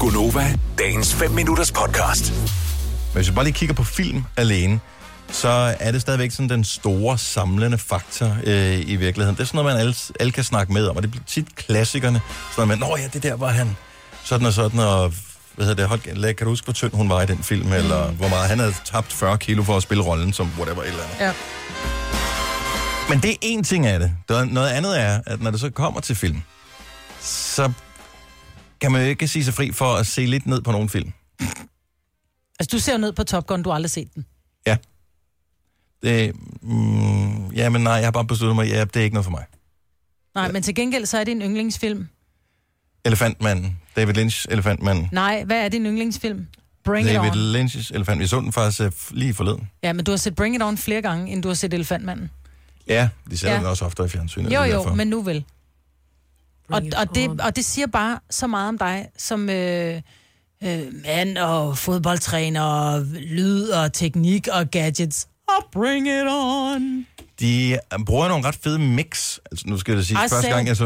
Gunova, dagens 5 minutters podcast. Men hvis vi bare lige kigger på film alene, så er det stadigvæk sådan den store samlende faktor øh, i virkeligheden. Det er sådan noget, man alle, alle kan snakke med om, og det bliver tit klassikerne. Sådan noget med, nå ja, det der var han. Sådan og sådan, og hvad hedder det, hold, kan du huske, hvor tynd hun var i den film, mm. eller hvor meget han havde tabt 40 kilo for at spille rollen som whatever et eller andet. Ja. Men det er en ting af det. Der- Noget andet er, at når det så kommer til film, så kan man jo ikke sige sig fri for at se lidt ned på nogle film. Altså, du ser jo ned på Top Gun, du har aldrig set den. Ja. Det, mm, ja, men nej, jeg har bare besluttet mig, ja, det er ikke noget for mig. Nej, men til gengæld, så er det en yndlingsfilm. Elefantmanden. David Lynch, Elefantmanden. Nej, hvad er din yndlingsfilm? Bring It David On. Lynch's Elefant. Vi så den faktisk øh, f- lige forleden. Ja, men du har set Bring It On flere gange, end du har set Elefantmanden. Ja, de sælger ja. Ja. den også oftere i fjernsynet. Jo, det er jo, derfor. men nu vel. Og, Bring it og, on. det, og det siger bare så meget om dig, som øh, øh, mand og fodboldtræner, og lyd og teknik og gadgets. Og bring it on! De øh, bruger nogle ret fede mix. Altså, nu skal jeg da sige, I første said, gang jeg så...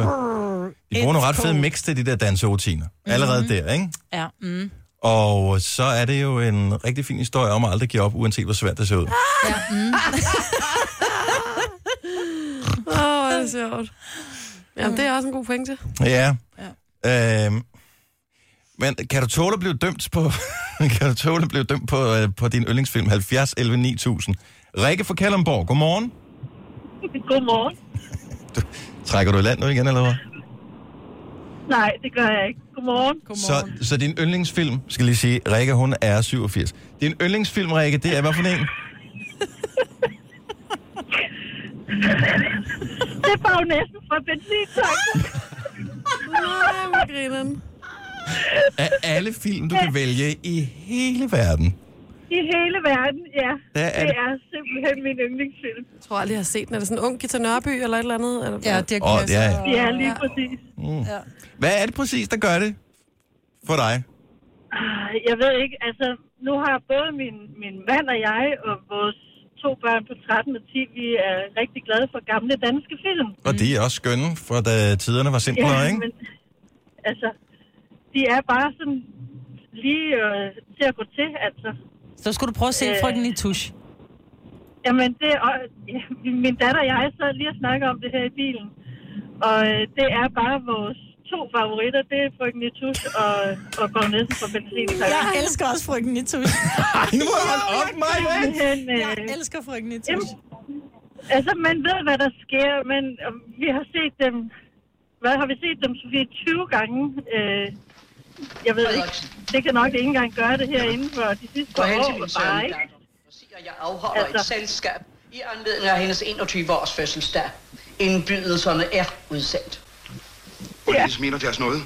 De bruger nogle ret it's fede cold. mix til de der danserutiner. Mhm. Allerede der, ikke? Ja, mm. Og så er det jo en rigtig fin historie om at aldrig give op, uanset hvor svært det ser ud. ja mm. Åh, oh, det er sjovt. Jamen, det er også en god pointe. Ja. ja. Øhm, men kan du tåle at blive dømt på, kan du tåle at blive dømt på, øh, på din yndlingsfilm 70 11 9000? Rikke fra Kalundborg, godmorgen. Godmorgen. Trækker du i land nu igen, eller hvad? Nej, det gør jeg ikke. Godmorgen. Så, så din yndlingsfilm, skal lige sige, Rikke, hun er 87. Din yndlingsfilm, Rikke, det er hvad for en? Det er bare næsten fra benzintanken. Nej, hvor grineren. Af alle film, du kan vælge i hele verden. I hele verden, ja. Der er det det. er simpelthen min yndlingsfilm. Jeg tror aldrig, jeg har set den. Er det sådan en ung Gita Nørby eller et eller andet? Eller ja hvad? det er Åh, oh, ja. ja. Det er lige præcis. Hvad er det præcis, der gør det for dig? Ah, Jeg ved ikke, altså, nu har både min, min mand og jeg og vores to børn på 13 og 10, vi er rigtig glade for gamle danske film. Og de er også skønne, for da tiderne var simplere, ikke? men altså, de er bare sådan lige øh, til at gå til, altså. Så skulle du prøve at se Øh. Frygten i tusch. Jamen, det er, og- ja, min datter og jeg sad lige og snakkede om det her i bilen. Og øh, det er bare vores to favoritter. Det er Frygten i Tus og, og Gorm Nielsen fra Benzin. Jeg elsker også Frygten i tusch. Ej, nu må du holde op, mig! Men, øh, Jeg elsker Frygten i jamen, tusch. altså, man ved, hvad der sker, men øh, vi har set dem... Hvad har vi set dem, Sofie? 20 gange. Øh, jeg ved ikke. Det kan nok ikke engang gøre det her inden for de sidste Gå par hen til år. min Bare, søn, ikke? og jeg afholder Altså. et selskab i anledning af hendes 21-års fødselsdag. Indbydelserne er udsendt. Hvordan de smiler deres noget?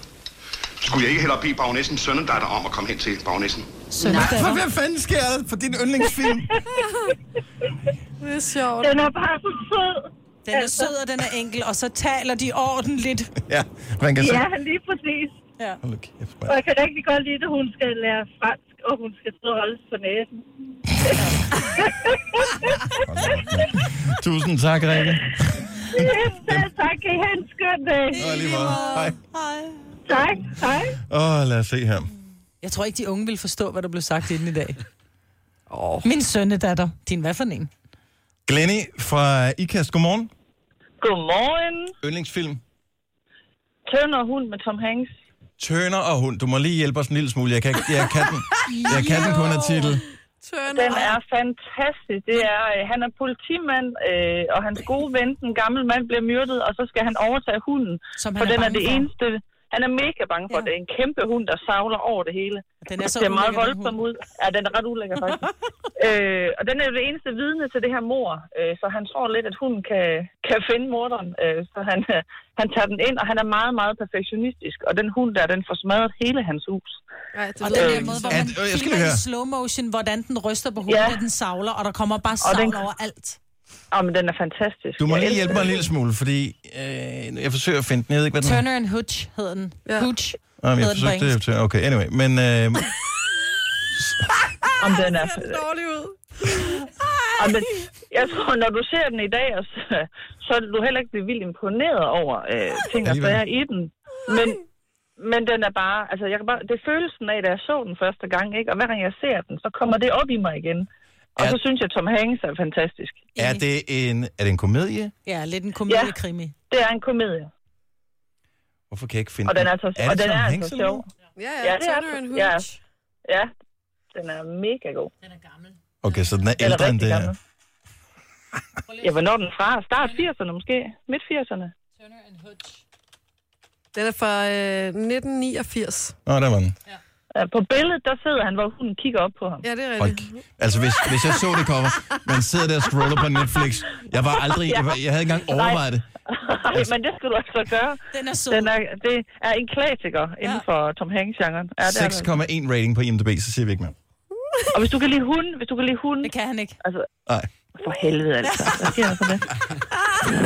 Skulle jeg ikke hellere bede bagnæssen sønnedatter om at komme hen til bagnæssen? For Søndag. hvad fanden sker der for din yndlingsfilm? Det er sjovt. Den er bare så sød. Den er sød, og den er enkel, og så taler de ordentligt. ja, man kan se. Ja, lige præcis. Ja. Hold nu kæft, Og mand. jeg kan rigtig godt lide, at hun skal lære fransk, og hun skal sidde og holde på næsen. Hold nu op, mand. Tusind tak, Rikke. Selv tak. Kan I have en skøn dag? Og lige meget. Hej. Tak. Hej. Åh, oh, lad os se her. Jeg tror ikke, de unge vil forstå, hvad der blev sagt inden i dag. Oh. Min sønnedatter. Din hvad for en? Glenny fra IKAST, godmorgen. Godmorgen. Yndlingsfilm. Tønder hund med Tom Hanks. Tøner og hund. Du må lige hjælpe os en lille smule. Jeg kan, ikke- jeg kan den. Jeg kan den kun af titel. Turn Den er fantastisk. Det er, øh, han er politimand, øh, og hans gode ven, den gamle mand, bliver myrdet, og så skal han overtage hunden. Som For han den er er det bange for. eneste... Han er mega bange for, Ja. ja. det er en kæmpe hund, der savler over det hele. Den er så det er meget ulækker, den voldsom hund. ud. Ja, den er ret ulækker faktisk. øh, og den er jo det eneste vidne til det her mor, øh, så han tror lidt, at hunden kan, kan finde morderen. Øh, så han, øh, han tager den ind, og han er meget, meget perfektionistisk. Og den hund der, den får smadret hele hans hus. Ej, det Og lyder den her ikke måde, så- hvor Ja, man det- øh, jeg skal filmer lige i høre. slow motion, hvordan den ryster på hovedet, Ja. ja. den savler, og der kommer bare Og savl den- over alt. Og men den er fantastisk. Du må Jeg lige elsker hjælpe mig en den. lille smule, fordi øh, jeg forsøger at finde den. Jeg ved ikke, hvad den Turner and Hooch hedder den. Ja. Hooch Nå, men jeg hedder den på engelsk. forsøgte at... Okay, anyway. Men øh, Om den er, ser det dårligt ud. om den, jeg tror, når du ser den i dag, og så, så vil du heller ikke blive vildt imponeret over øh, ting og Alligevel. sager i den. Men men den er bare, altså jeg kan bare, det er følelsen af, da jeg så den første gang, ikke? og hver gang jeg ser den, så kommer det op i mig igen. Og Er- så synes jeg, Tom Hanks er fantastisk. Er det en, er det en komedie? Ja, lidt en komediekrimi. Det er en komedie, Hvorfor kan jeg ikke finde og den er så, Er det og den Tom er Hanks, altså eller sjov. hvad? Ja, Ja, ja, det er Turner det. and Ja. Hooch. Ja, den er mega god. Den er gammel. Okay, så den er Den er ældre end rigtig det her. gammel. Ja, hvornår er den fra? Start 80'erne måske? Midt 80'erne? Turner and Hooch. Den er fra øh, 1989. Nå, der var den. Ja, På billedet, der sidder han, hvor hunden kigger op på ham. Ja, det er Hold, rigtigt. k- altså, hvis, hvis jeg så det cover, man sidder der og scroller på Netflix. Jeg var aldrig, jeg, var, jeg havde ikke engang overvejet det. Ej, men det skal du altså gøre. Den er sød. Den er, det er en klassiker inden for Tom Hanks-genren. Ja, det er det. 6,1 rating på IMDb, så siger vi ikke mere. Og hvis du kan lide hunden, hvis du kan lide hunden, Det kan han ikke. altså, Nej. for helvede altså. Hvad siger jeg for det?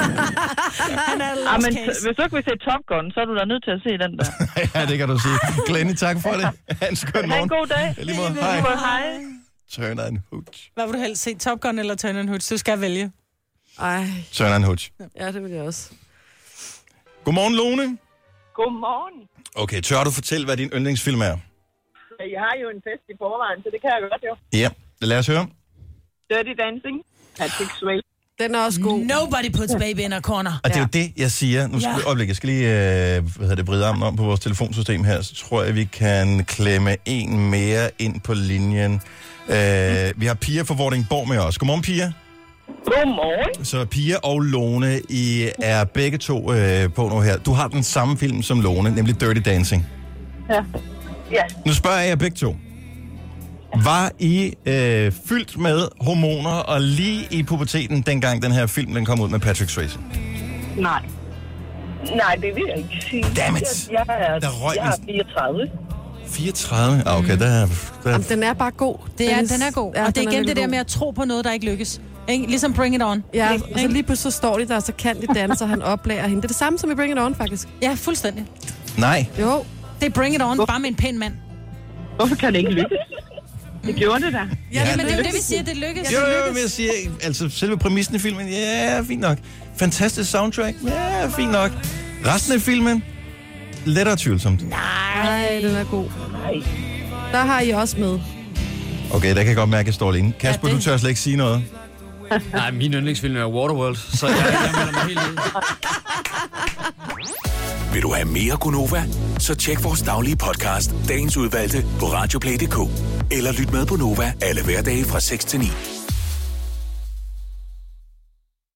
Han er Ah, last men case. hvis du ikke vil se Top Gun, så er du da nødt til at se den der. ja, det kan du sige. Glennie, tak for det. Ha' en skøn Ha' morgen. en god dag. Ja, lige måde. Lige Hej. måde. Hej. Turner and Hooch. Hvad vil du helst se? Top Gun eller Turner and Hooch? Du skal vælge. Ej, Turner and Hooch. ja, det vil jeg også. Godmorgen, Lone. Godmorgen. Okay, tør du fortælle, hvad din yndlingsfilm er? Jeg har jo en fest i forvejen, så det kan jeg godt jo. Ja, lad os høre. Dirty Dancing. Patrick Swayze. Den er også god. Nobody puts baby in a corner. Og det er jo det, jeg siger. Nu skal Ja. ja. øjeblik, jeg skal lige øh, hvad hedder det, bride armen om på vores telefonsystem her, så tror jeg, vi kan klemme en mere ind på linjen. Øh, vi har Pia fra Vordingborg med os. Godmorgen, Pia. Godmorgen. Så Pia og Lone, I er begge to øh, på nu her. Du har den samme film som Lone, nemlig Dirty Dancing. Ja. Ja. Nu spørger jeg jer begge to. Var I øh, fyldt med hormoner og lige i puberteten, dengang den her film den kom ud med Patrick Swayze? Nej. Nej, det vil jeg ikke sige. Damn it. Jeg, jeg, er, Der røg jeg er den. 34. 34? Ah, Mm. okay, der, er- der, er- Jamen, den er bare god. Det er, den er god. Ja, og det er igen den det virkelig der god. med at tro på noget, der ikke lykkes. Ikke? Ligesom Bring It On. Ja, Ikke? og så lige pludselig så står de der, og så kan de danse, og han oplærer hende. Det er det samme som i Bring It On, faktisk. Ja, fuldstændig. Nej. Jo, Det er Bring It On, bare med en pæn mand. Hvorfor kan det ikke lykkes? Det gjorde det da. Ja, Jamen, det er jo det, vi siger, det lykkes. Jo, jo, jo, men jeg siger, altså selve præmissen i filmen, ja, fint nok. Fantastisk soundtrack, ja, fint nok. Resten af filmen, lettere tvivlsomt. nej, den er god. Der har I også med. Okay, der kan jeg godt mærke, at jeg står alene. Kasper, Ja, ja, det- du tør slet ikke sige noget. Nej, min yndlingsfilm er Waterworld, så jeg, jeg melder mig helt ud. Vil du have mere Gunova? Så tjek vores daglige podcast, dagens udvalgte, på radioplay.dk. Eller lyt med på Nova alle hverdage fra 6 til 9.